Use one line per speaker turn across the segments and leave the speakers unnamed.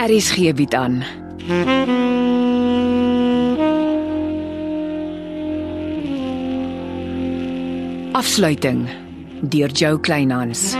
Aries gee bied Er aan. Afsluiting deur Jo Kleinhans.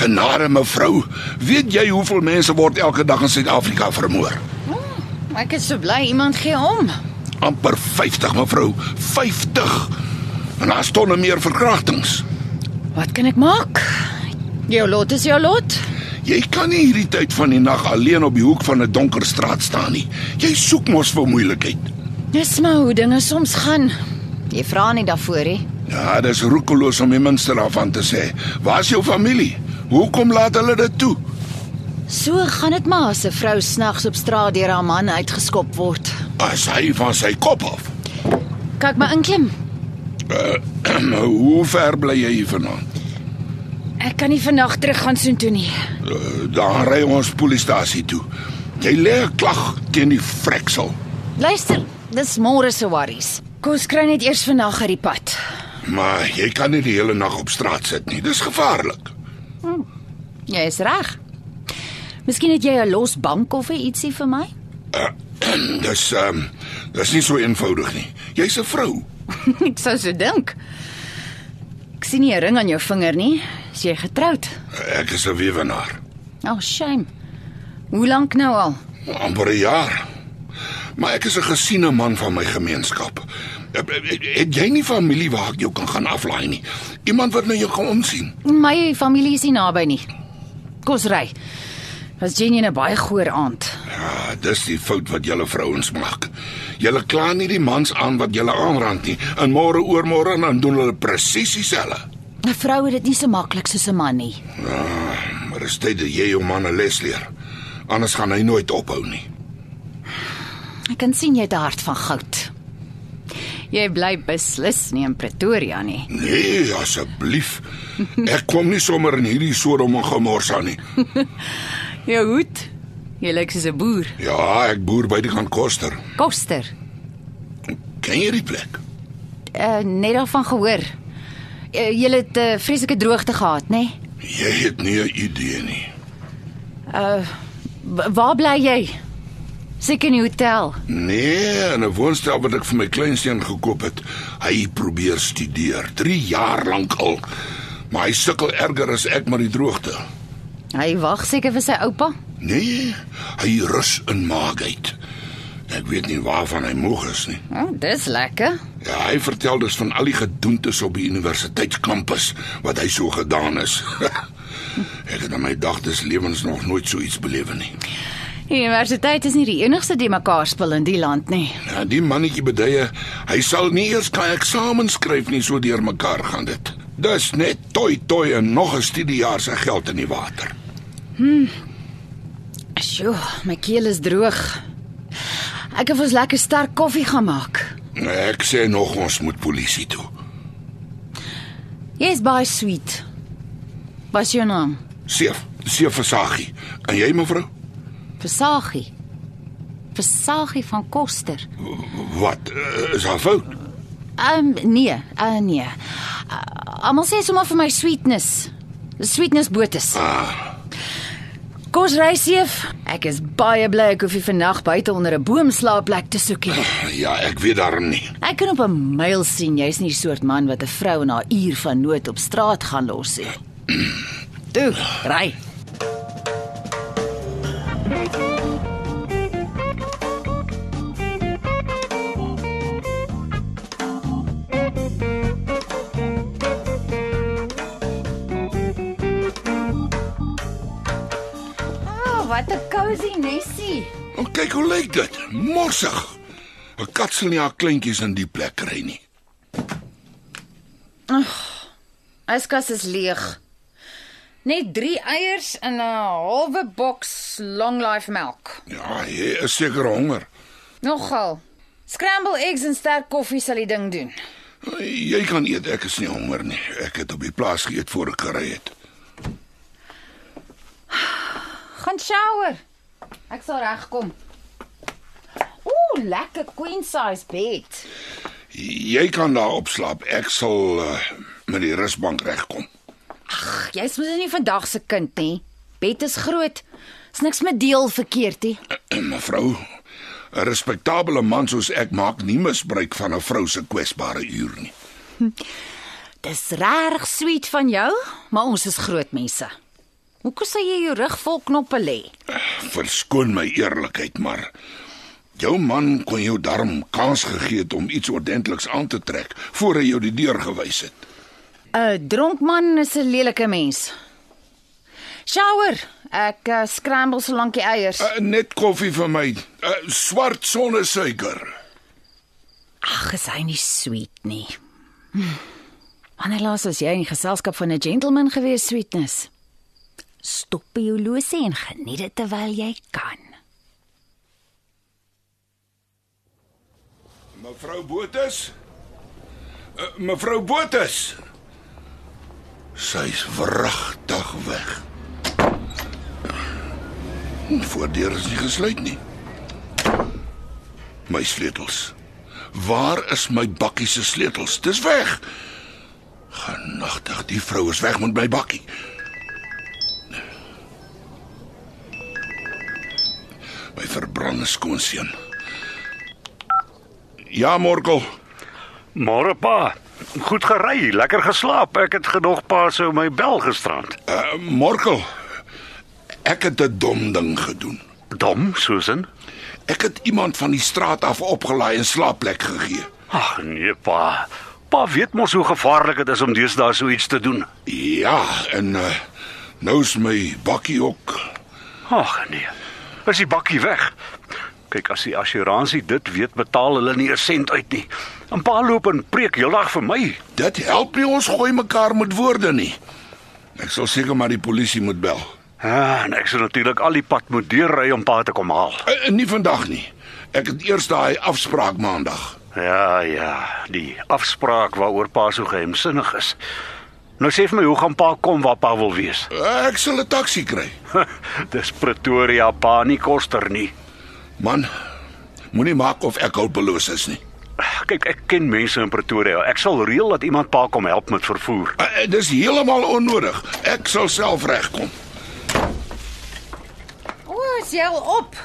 Genade mevrou, weet jy hoeveel mense word elke dag in Suid-Afrika vermoor?
Ek is so bly iemand gee om.
Amper 50 mevrou, 50. En daar's tonne meer verkrachtings.
Wat kan ek maak? Jou lot is jou lot.
Jy kan nie hierdie tyd van die nag alleen op die hoek van 'n donker straat staan nie. Jy soek mos vir moeilikheid.
Dis maar hoe dinge soms gaan. Jy vra nie daarvoor nie.
Ja, dis roekeloos om die minste daarvan te sê. Waar's jou familie? Hoekom laat hulle dit toe?
So gaan dit maar as 'n vrou snags op straat deur haar man uitgeskop word.
As hy van sy kop af.
Kyk maar inklim.
Eh, Hoe ver bly jy hier vanaand?
Ek kan nie vandag terug gaan soontoe nie.
Uh, dan ry ons polisiestasie toe. Jy lê 'n klag teen die freksel.
Luister, dis môre se worries. Kom ons kry net eers vandag uit die pad.
Maar jy kan nie die hele nag op straat sit nie. Dis gevaarlik.
Jy is reg. Miskien het jy 'n los bank of ietsie vir my?
Dis ehm um, dis nie so eenvoudig nie. Jy's 'n vrou.
ek sou so dink. Ek sien nie 'n ring aan jou vinger nie. Is jy getroud?
Ek is 'n weewenaar.
Oh, shame. Hoe lank nou al?
amper 'n jaar. Maar ek is 'n gesiene man van my gemeenskap. Het jy nie familie waar ek jou kan gaan aflaai nie? Iemand wat na jou kan omsien.
My familie is nie naby nie. Kom ons ry. Was Jenny in 'n baie goeie aand.
Ja, dis die fout wat julle vrouens maak. Julle kla nie die mans aan wat julle aanrand nie. En môre oormôre dan doen hulle presies dieselfde.
'n Vrou het dit nie so maklik soos 'n man nie.
Maar dis tyd dat jy jou man 'n les leer. Anders gaan hy nooit ophou nie.
Ek kan sien jy het 'n hart van goud. Jy bly beslis nie in Pretoria nie.
Nee, asseblief. Ek kom nie sommer in hierdie Sodom en Gomorra nie.
Jou hoed. Jy lyk soos 'n boer.
Ja, ek boer by die kant Koster.
Koster.
Ken jy die plek?
Uh, net daarvan gehoor. Uh, jy het 'n uh, vreeslike droogte gehad, nê? Nee?
Jy het nie 'n idee nie.
Wa- Waar bly jy? Seker in die hotel.
Nee, in 'n woonstel wat ek vir my kleinseun gekoop het. Hy probeer studeer, 3 jaar lank al. Maar hy sukkel erger as ek met die droogte.
Hy wag seker vir sy oupa.
Nee, hy rus in maagheid. Ek weet nie waarvan hy moeg is nie.
Oh, dis lekker.
Ja, hy vertel dus van al die gedoentes op die universiteitskampus wat hy so gedaan is. ek het in my dagtes lewens nog nooit so iets beleef nie.
Die universiteit is nie die enigste die mekaar spil in die land nie.
Ja, die mannetjie beduie, hy sal nie eers kan eksamen skryf nie, so deurmekaar gaan dit. Dis net toi toi en nog 'n studiejaar se geld in die water.
Sjoe, my keel is droog. Ek het ons lekker sterk koffie gaan maak.
Ek sê nog ons moet polisie toe.
Jy's baie sweet. Wat is jou naam?
Seef, seef versagie. En jy mevrou?
Versagie. Versagie van Koster.
Wat eh, is haar fout?
Ehm um, nee, uh, nee. Uh, Almal sê sommer vir my sweetness. Sweetness botes.
Ah,
Kom ons ry seef. Ek is baie bly ek hoef nie vandag buite onder 'n boom slaapplek te soek nie.
ja, ek weet daarom nie.
Ek kan op 'n myl sien jy's nie die soort man wat 'n vrou in haar uur van nood op straat gaan los nie. Toe, ry.
Oh, wat 'n cosy nesie.
Maar kyk hoe lyk dit. Morsig. 'n Kat sal nie haar kleintjies in die plek kry nie.
Yskas is leeg. Net 3 eiers in 'n halwe boks long life melk.
Ja, hy is seker honger.
Nogal. Scramble eggs en sterk koffie sal die ding doen.
Jy kan eet, ek is nie honger nie. Ek het op die plaas geëet voor ek gery het.
Gaan shower. Ek sal regkom. Ooh, lekker queen size bed.
Jy kan daar opslaap. Ek sal uh, met die rusbank regkom.
Ag, Jy's mos nie vandag se kind nie. Bed is groot. Is niks met deel verkeerd nie.
Mevrou, 'n respektabele man soos ek maak nie misbruik van 'n vrou se kwesbare uur nie.
Dis reg sweet van jou, maar ons is groot mense. Hoekom sê jy jou rug vol knoppe lê?
Verskoon my eerlikheid, maar jou man kon jou darm kans gegee het om iets ordentliks aan te trek voor hy jou die deur gewys het.
'n Dronk man is 'n lelike mens. Shower. Ek uh, scramble so lank die eiers.
Uh, net koffie vir my. Uh, swart sonnesuiker.
Ag, is hy nie sweet nie. Hm. Wanneer laas was jy in geselskap van 'n gentleman gewees, sweetness? Stop by jou losie en geniet dit terwyl jy kan.
Mevrou Botus? Uh, mevrou Botus. Sy's wragtig weg. Die voordeur is nie gesluit nie. My sleutels. Waar is my bakkie se sleutels? Dis weg. Genagtig, die vrou is weg met my bakkie. My verbrande skoonseun. Ja, Morkel.
Môre pa. Goed gery, lekker geslaap. Ek het gedog pa sou my bel gisterand.
Uh, Morkel. Ek het 'n dom ding gedoen.
Dom, Susan.
Ek het iemand van die straat af opgelaai en slaapplek gegee.
Ag nee pa. Pa weet mos hoe gevaarlik dit is om deesdae so iets te doen.
Ja, en uh, nou is my bakkie ook.
Ag nee. Is die bakkie weg? Kyk, as die assuransie dit weet, betaal hulle nie 'n sent uit nie. En pa loop en preek heeldag vir my.
Dit help nie ons gooi mekaar met woorde nie. Ek sal seker maar die polisie moet bel.
Ja, en ek sou natuurlik al die pad moet deurry om pa te kom haal.
Uh, nie vandag nie. Ek het eers daai afspraak maandag.
Ja, ja, die afspraak waaroor pa so geheimsinnig is. Nou sê vir my, hoe gaan pa kom waar pa wil wees?
Uh, ek sal 'n taxi kry.
Dis Pretoria, pa, nie koster nie.
Man, moenie maak of ek hulpeloos is nie.
Kyk, ek ken mense in Pretoria. Ek sal reël dat iemand pa kom help met vervoer.
Uh, dis heeltemal onnodig. Ek sal self regkom.
O, is jy al op?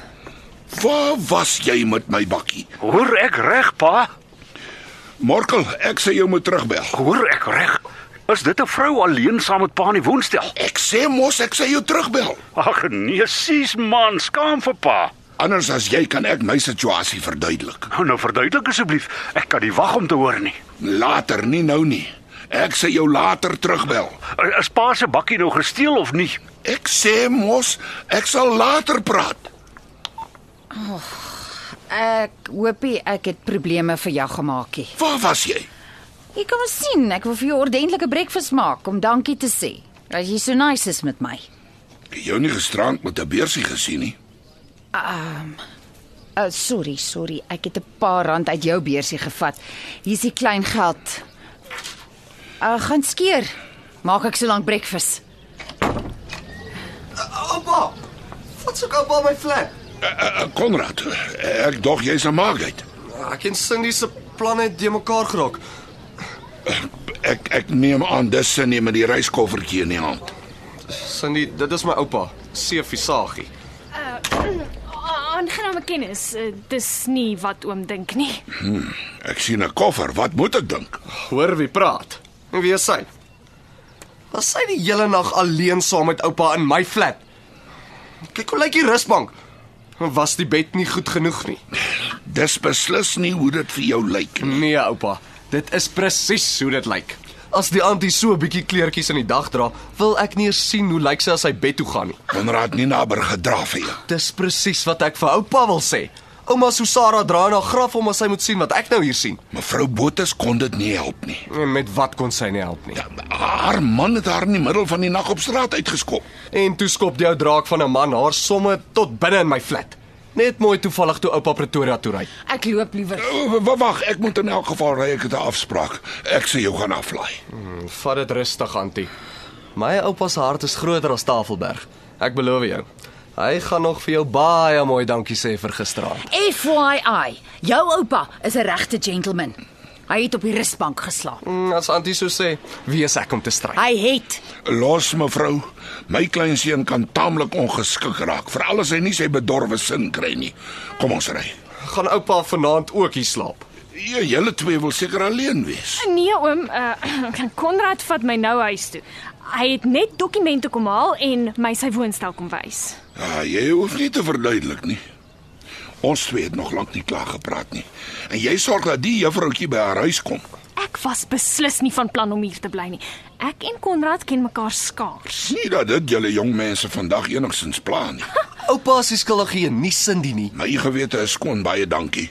Waar was jy met my bakkie?
Hoor ek reg, pa?
Morkel, ek sê jou moet terugbel.
Hoor ek reg? Is dit 'n vrou alleen saam met pa in die woonstel?
Ek sê mos ek sê jou terugbel.
Ag nee, sies man, skaam vir pa.
Anders as jy kan ek my situasie verduidelik.
Nou, nou verduidelik asseblief. Ek kan nie wag om te hoor nie.
Later, nie nou nie. Ek sê jou later terugbel.
Is pa se bakkie nou gesteel of nie?
Ek sê mos, ek sal later praat.
Ek hoopie ek het probleme vir jou gemaak nie.
Waar was jy?
Jy kan mos sien, ek wil vir jou ordentlike breakfast maak om dankie te sê dat jy so nice is met my.
Het Jy jou nie gisterand met 'n beursie gesien nie.
Uh, sorry, sorry. Ek het 'n paar rand uit jou beursie gevat. Hier's die klein geld. Uh, gaan skeer. Maak ek so lank breakfast.
Oupa. Oh, Wat soek oupa my vlek?
Eh, eh, Konrad, eh, ek dog jy's 'n maagheid.
Ek ken Cindy se planne het de mekaar geraak.
Ek ek neem aan dis sin jy met die reiskoffertjie in die hand.
Cindy, dit is my oupa, Sefisagie.
Uh, oh, Aangename kennis, eh, dis nie wat oom dink nie.
Ek sien 'n koffer. Wat moet ek dink?
Hoor wie praat? En wie is sy? Was sy die hele nag alleen saam met oupa in my flat? Kyk hoe lyk die rusbank. Was die bed nie goed genoeg nie?
Dis beslis nie hoe dit vir jou lyk nie.
Nee, oupa. Dit is presies hoe dit lyk. As die antie so 'n bietjie kleertjies in die dag dra, wil ek nie eens sien hoe lyk sy as sy bed toe gaan nie.
Konrad nie naby gedra vir jou.
Dis presies wat ek vir oupa wil sê. Ouma Susara draai na graf om as sy moet sien wat ek nou hier sien.
Mevrou Botha kon dit nie help nie.
En met wat kon sy nie help nie.
Ja, Haar man het haar in die middel van die nag op straat uitgeskop.
En toe skop jou draak van 'n man haar somme tot binne in my flat. Net mooi toevallig toe oupa Pretoria toe ry.
Ek loop liewer.
O, Eh, wa- Wag, ek moet in elk geval ry, ek het 'n afspraak. Ek sê jou gaan aflaai.
Vat dit rustig, Antie. My oupa se hart is groter as Tafelberg. Ek beloof jou. Hy gaan nog vir jou baie mooi dankie sê vir gisteraand.
FYI, jou oupa is 'n regte gentleman. Hy het op die rusbank geslaap.
Mm, As Antie so sê, wie is ek om te stry?
Hy het
Los mevrou, my kleinseun kan taamlik ongeskik raak, veral as hy nie sy bedorwe sin kry nie. Kom ons ry.
Gaan oupa vanaand ook hier slaap?
Ja, julle twee wil seker alleen wees.
Nee oom, uh, Konrad vat my nou huis toe. Hy het net dokumente kom haal en my sy woonstel kom wys.
Ja, jy hoef nie te verduidelik nie. Ons twee het nog lank nie klaar gepraat nie. En jy sorg dat die juffroutjie by haar huis kom.
Ek was beslis nie van plan om hier te bly nie. Ek en Konrad ken mekaar skaars.
Nie dat dit julle jong mense vandag enigsins pla nie.
Oupa is nie skuldig hier, nie sin die nie.
My gewete is skoon, baie dankie.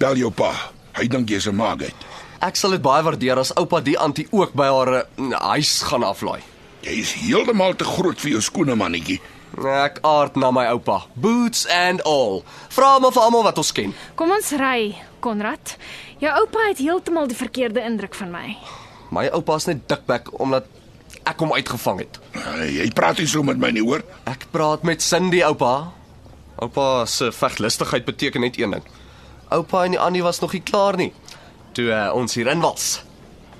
Bel jou pa. Hy dink jy's 'n maagheid.
Ek sal dit baie waardeer as oupa die antie ook by haar eh, huis gaan aflaai.
Jy is heeltemal te groot vir jou skoene mannetjie.
Ek aard na my oupa, boots and all. Vra hom vir almal wat ons ken.
Kom ons ry, Konrad. Jou oupa het heeltemal die verkeerde indruk van my.
My oupa's net dikbek omdat ek hom uitgevang het.
Uh, Jy praat nie so met my nie, hoor?
Ek praat met Cindy oupa. Oupa se veglustigheid beteken net een ding. Oupa en die Annie was nog nie klaar nie toe uh, ons hier in was.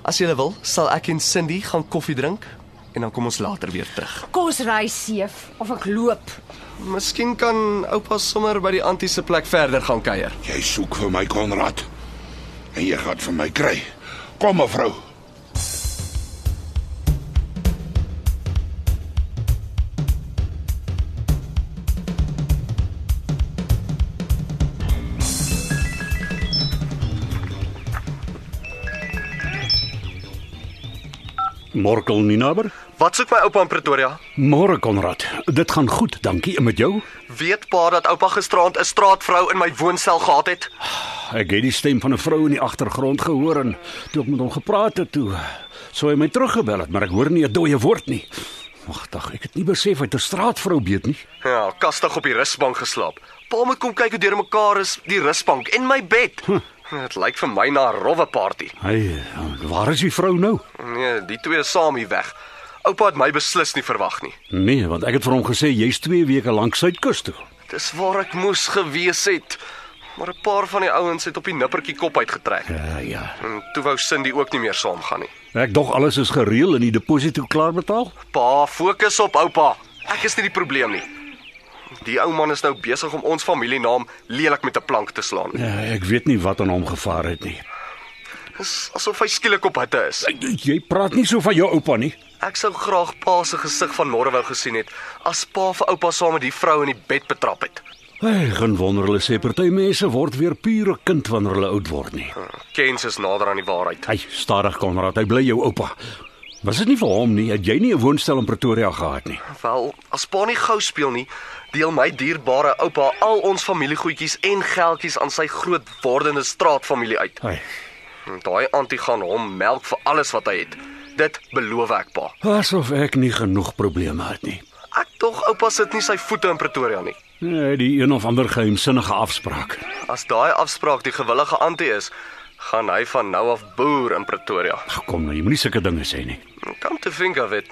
As jy wil, sal ek en Cindy gaan koffie drink en dan kom ons later weer terug.
kos ry seef of ek loop.
Miskien kan oupa sommer by die antie se plek verder gaan kuier.
Jy soek vir my Konrad. En jy gaan vir my kry. Kom mevrou.
Morkel Ninaber.
Wat soek my oupa in Pretoria?
Môre Konrad. Dit gaan goed, dankie. En met jou?
Weet pa dat oupa gisteraand 'n straatvrou in my woonstel gehad het?
Ek het die stem van 'n vrou in die agtergrond gehoor en toe ek met hom gepraat het toe sou hy my teruggebel het, maar ek hoor nie 'n dooie woord nie. Wagtig, ek het nie besef hy het 'n straatvrou beet nie.
Ja, kastig op die rusbank geslaap. Pa moet kom kyk hoe deurmekaar is die rusbank en my bed. Dit hm. lyk vir my na 'n rowwe party.
Hy, waar is die vrou nou?
Nee, die twee is saam hier weg. Oupa het my beslis nie verwag nie.
Nee, want ek het vir hom gesê jy's 2 weke lank suidkus toe.
Dis waar ek moes gewees het. Maar 'n paar van die ouens het op die nippertjie kop uitgetrek.
Ja, ja.
En toe wou Cindy ook nie meer saamgaan nie.
Ek dog alles is gereël en die deposito klaar betaal.
Pa, fokus op oupa. Ek is nie die probleem nie. Die ou man is nou besig om ons familienaam lelik met 'n plank te slaan.
Ja, ek weet nie wat aan hom gevaar het nie.
Dis asof hy skielik op hitte is.
Jy praat nie so van jou oupa nie.
Ek sou graag pa se gesig van môre wou gesien het as pa vir oupa saam met die vrou in die bed betrap het.
Ek gaan wonder hulle sê party mense word weer pure kind wanneer hulle oud word nie.
Uh, Kens is nader aan die waarheid.
Hy, stadig Konrad, hy bly jou oupa. Was dit nie vir hom nie? Het jy nie 'n woonstel in Pretoria gehad nie?
Wel, as pa nie gou speel nie, deel my dierbare oupa al ons familiegoedjies en geldjies aan sy groot wordende straatfamilie uit.
Hy.
En Daai antie gaan hom melk vir alles wat hy het. Dit beloof ek pa.
Asof ek nie genoeg probleme het nie.
Ek tog oupa sit nie sy voete in Pretoria nie.
Nee, die een of ander geheimsinnige afspraak.
As daai afspraak die gewillige antie is, gaan hy van nou af boer in Pretoria.
Ag, Kom nou, jy moenie sulke dinge sê nie.
Come to think of it,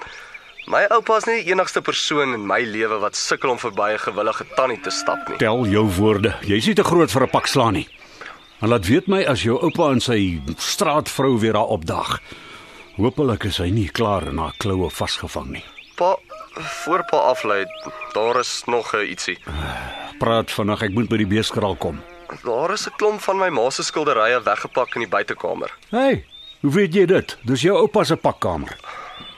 my oupa is nie die enigste persoon in my lewe wat sukkel om verby 'n gewillige tannie te stap nie.
Tel jou woorde. Jy's nie te groot vir 'n pak slaan nie. En laat weet my as jou oupa en sy straatvrou weer daar opdag. Hoopelik is hy nie klaar in haar kloue vasgevang nie.
Pa voor pa aflei, daar is nog 'n ietsie.
Praat vinnig, ek moet by die beeskraal kom.
Daar is 'n klomp van my ma se skilderye weggepak in die buitekamer.
Hey, hoe weet jy dit? Dis jou oupa se pakkamer.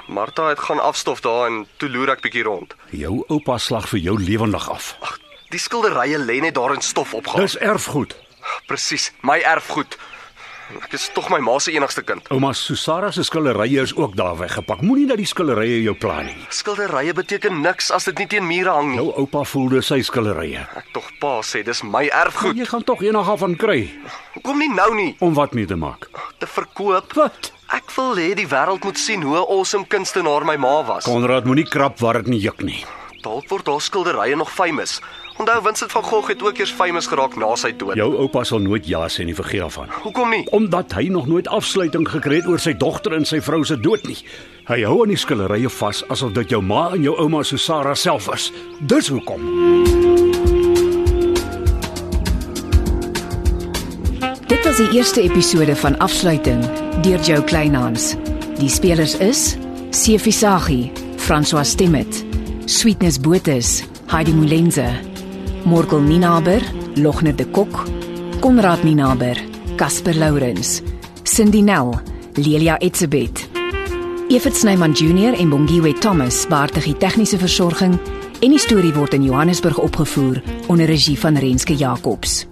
Martha het gaan afstof daar en toe loer ek bietjie rond.
Jou oupa slag vir jou lewendig af.
Ag, die skilderye lê net daar in stof opgehaal.
Dis erfgoed.
Presies, my erfgoed. Ek is tog my ma se enigste kind.
Ouma Susara se skillerye is ook daar weggepak. Moenie dat die skillerye jou pla nie.
Skilderye beteken niks as dit nie teen mure hang nie.
Jou oupa voelde sy skillerye.
Ek tog pa sê dis my
Goed.
erfgoed.
Jy gaan tog eendag af van kry
Kom nie nou nie
om wat mee te maak.
te verkoop.
Wat?
Ek wil hê die wêreld moet sien hoe 'n awesome kunstenaar my ma was.
Konrad moenie krap waar dit nie juk nie.
Dalk word haar skilderye nog famous. Onthou Vincent van Gogh het ook eers famous geraak na sy dood.
Jou oupa sal nooit ja sê nie, vergeet daarvan.
Hoekom nie?
Omdat hy nog nooit afsluiting gekry het oor sy dogter en sy vrou se dood nie. Hy hou aan die skillerye vas asof dit jou ma en jou ouma Susara self is. Dis hoekom.
Dit was die eerste episode van Afsluiting deur Jo Kleinhans. Die spelers is Sefisagi, François Stemmet, Sweetness Botha, Heidi Molenze, Morkel Ninaber, Logner de Kok, Konrad Ninaber, Casper Lourens, Cindy Nel, Lelia Etzebeth. Evert Snyman Junior en Bongiwe Thomas baartig die tegniese versorging en die storie word in Johannesburg opgevoer onder regie van Renske Jacobs.